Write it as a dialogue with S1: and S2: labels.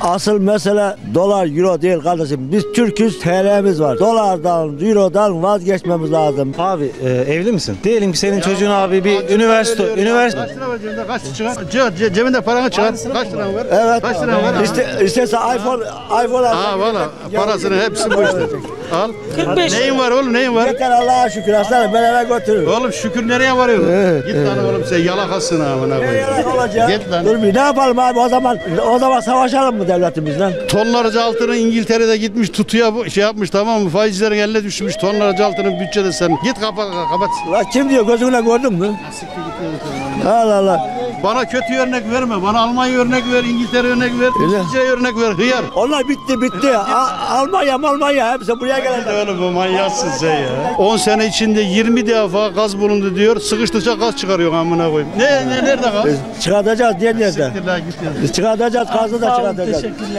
S1: Asıl mesele dolar euro değil kardeşim. Biz Türk'üz TL'miz var. Dolardan eurodan vazgeçmemiz lazım.
S2: Abi e, evli misin? Diyelim ki senin çocuğun abi bir üniversite üniversite
S3: Kaç lira var cebinde? Kaç çıkar? Çıkar ce- cebinde paranı çıkar. Kaç lira var?
S1: Evet.
S3: Kaç lira var?
S1: İste, istese iPhone, iPhone alsak-
S3: Ha valla parasını hepsi bu işte. Al.
S4: 45
S3: Neyin var oğlum neyin var?
S1: Yeter Allah'a şükür aslanım ben eve götürürüm.
S3: Oğlum şükür nereye varıyorsun? Git lan oğlum sen yalakasın amına
S1: Ne
S3: koyayım.
S1: yalan olacak?
S3: Git lan.
S1: Dur bir ne yapalım abi o zaman o zaman savaşalım mı devletimizle?
S3: Tonlarca altını İngiltere'de gitmiş tutuya bu- şey yapmış tamam mı? Faizlerin eline düşmüş tonlarca altının bütçede sen. Git kapat kapat.
S1: La kim diyor gözünle gördün mü? Allah Allah.
S3: Bana kötü örnek verme. Bana Almanya örnek ver, İngiltere örnek ver,
S1: Öyle.
S3: İngilizce örnek ver. Hıyar.
S1: Onlar bitti bitti. A- Almanya Almanya hepsi buraya gelecek.
S3: Oğlum bu manyaksın sen ya. 10 sene içinde 20 defa gaz bulundu diyor. Sıkıştıkça gaz çıkarıyor amına koyayım. Ne, ne nerede gaz?
S1: Çıkartacağız diye nerede?
S3: Siktir la git ya.
S1: Çıkartacağız kazı da
S4: Sağ olun,
S1: çıkartacağız.
S4: teşekkürler.